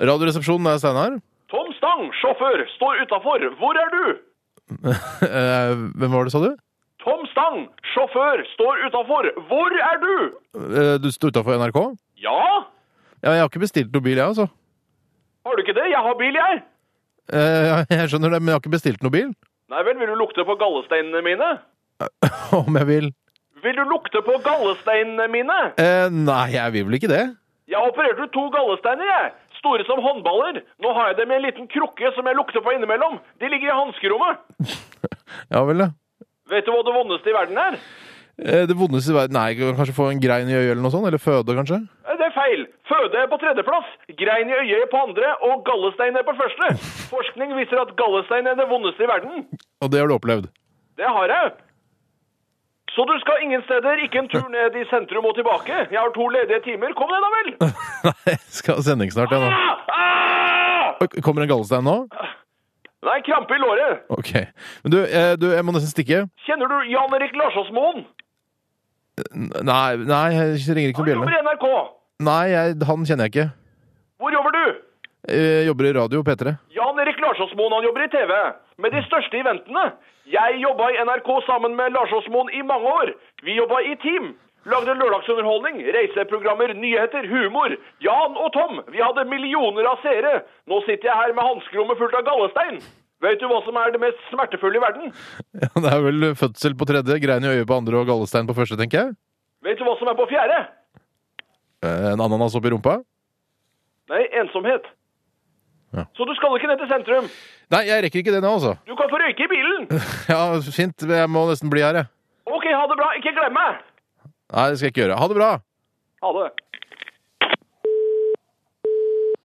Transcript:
Radioresepsjonen er Steinar. Tom Stang, sjåfør, står utafor. Hvor er du? Eh, Hvem var det, sa du? Tom Stang, sjåfør, står utafor. Hvor er du? Eh, Du sto utafor NRK? Ja? Ja, jeg har ikke bestilt noe bil, jeg, altså. Har du ikke det? Jeg har bil, jeg. Eh, Jeg skjønner det, men jeg har ikke bestilt noe bil. Nei vel, vil du lukte på gallesteinene mine? Om jeg vil. Vil du lukte på gallesteinene mine? Eh, Nei, jeg vil vel ikke det. Jeg opererte ut to gallesteiner, jeg. Store som håndballer. Nå har jeg dem i en liten krukke som jeg lukter på innimellom. De ligger i hanskerommet. Ja vel, ja. Vet du hva det vondeste i verden er? Eh, Det vondeste i verden Nei, kanskje få en grein i øyet eller noe sånt? Eller føde, kanskje? Eh, Det er feil. Føde er på tredjeplass, grein i øyet på andre og gallestein er på første. Forskning viser at gallestein er det vondeste i verden. Og det har du opplevd? Det har jeg. Så du skal ingen steder, ikke en tur ned i sentrum og tilbake. Jeg har to ledige timer. Kom deg da vel! Nei, jeg skal ha sending snart, jeg nå. Ah! Ah! Oi, Kommer en gallestein nå? Nei, krampe i låret. Ok. Men du, eh, du jeg må nesten stikke. Kjenner du Jan Erik Larsåsmoen? N- Nei, nei, jeg ringer ikke Han noen bjelle. jobber i NRK. Nei, jeg, han kjenner jeg ikke. Hvor jobber du? Jeg jobber i radio, P3. Jan Erik Larsåsmoen han jobber i TV, med de største eventene. Jeg jobba i NRK sammen med Larsåsmoen i mange år. Vi jobba i team. Lagde lørdagsunderholdning, reiseprogrammer, nyheter, humor. Jan og Tom, vi hadde millioner av seere. Nå sitter jeg her med hanskerommet fullt av gallestein. Vet du hva som er det mest smertefulle i verden? Ja, det er vel fødsel på tredje, grein i øyet på andre og gallestein på første, tenker jeg. Vet du hva som er på fjerde? Eh, En ananas oppi rumpa. Nei, ensomhet. Ja. Så du skal ikke ned til sentrum. Nei, jeg rekker ikke det nå, altså. Du kan få røyke i bilen. Ja, fint. men Jeg må nesten bli her, jeg. OK, ha det bra. Ikke glem meg. Nei, det skal jeg ikke gjøre. Ha det bra! Ha det.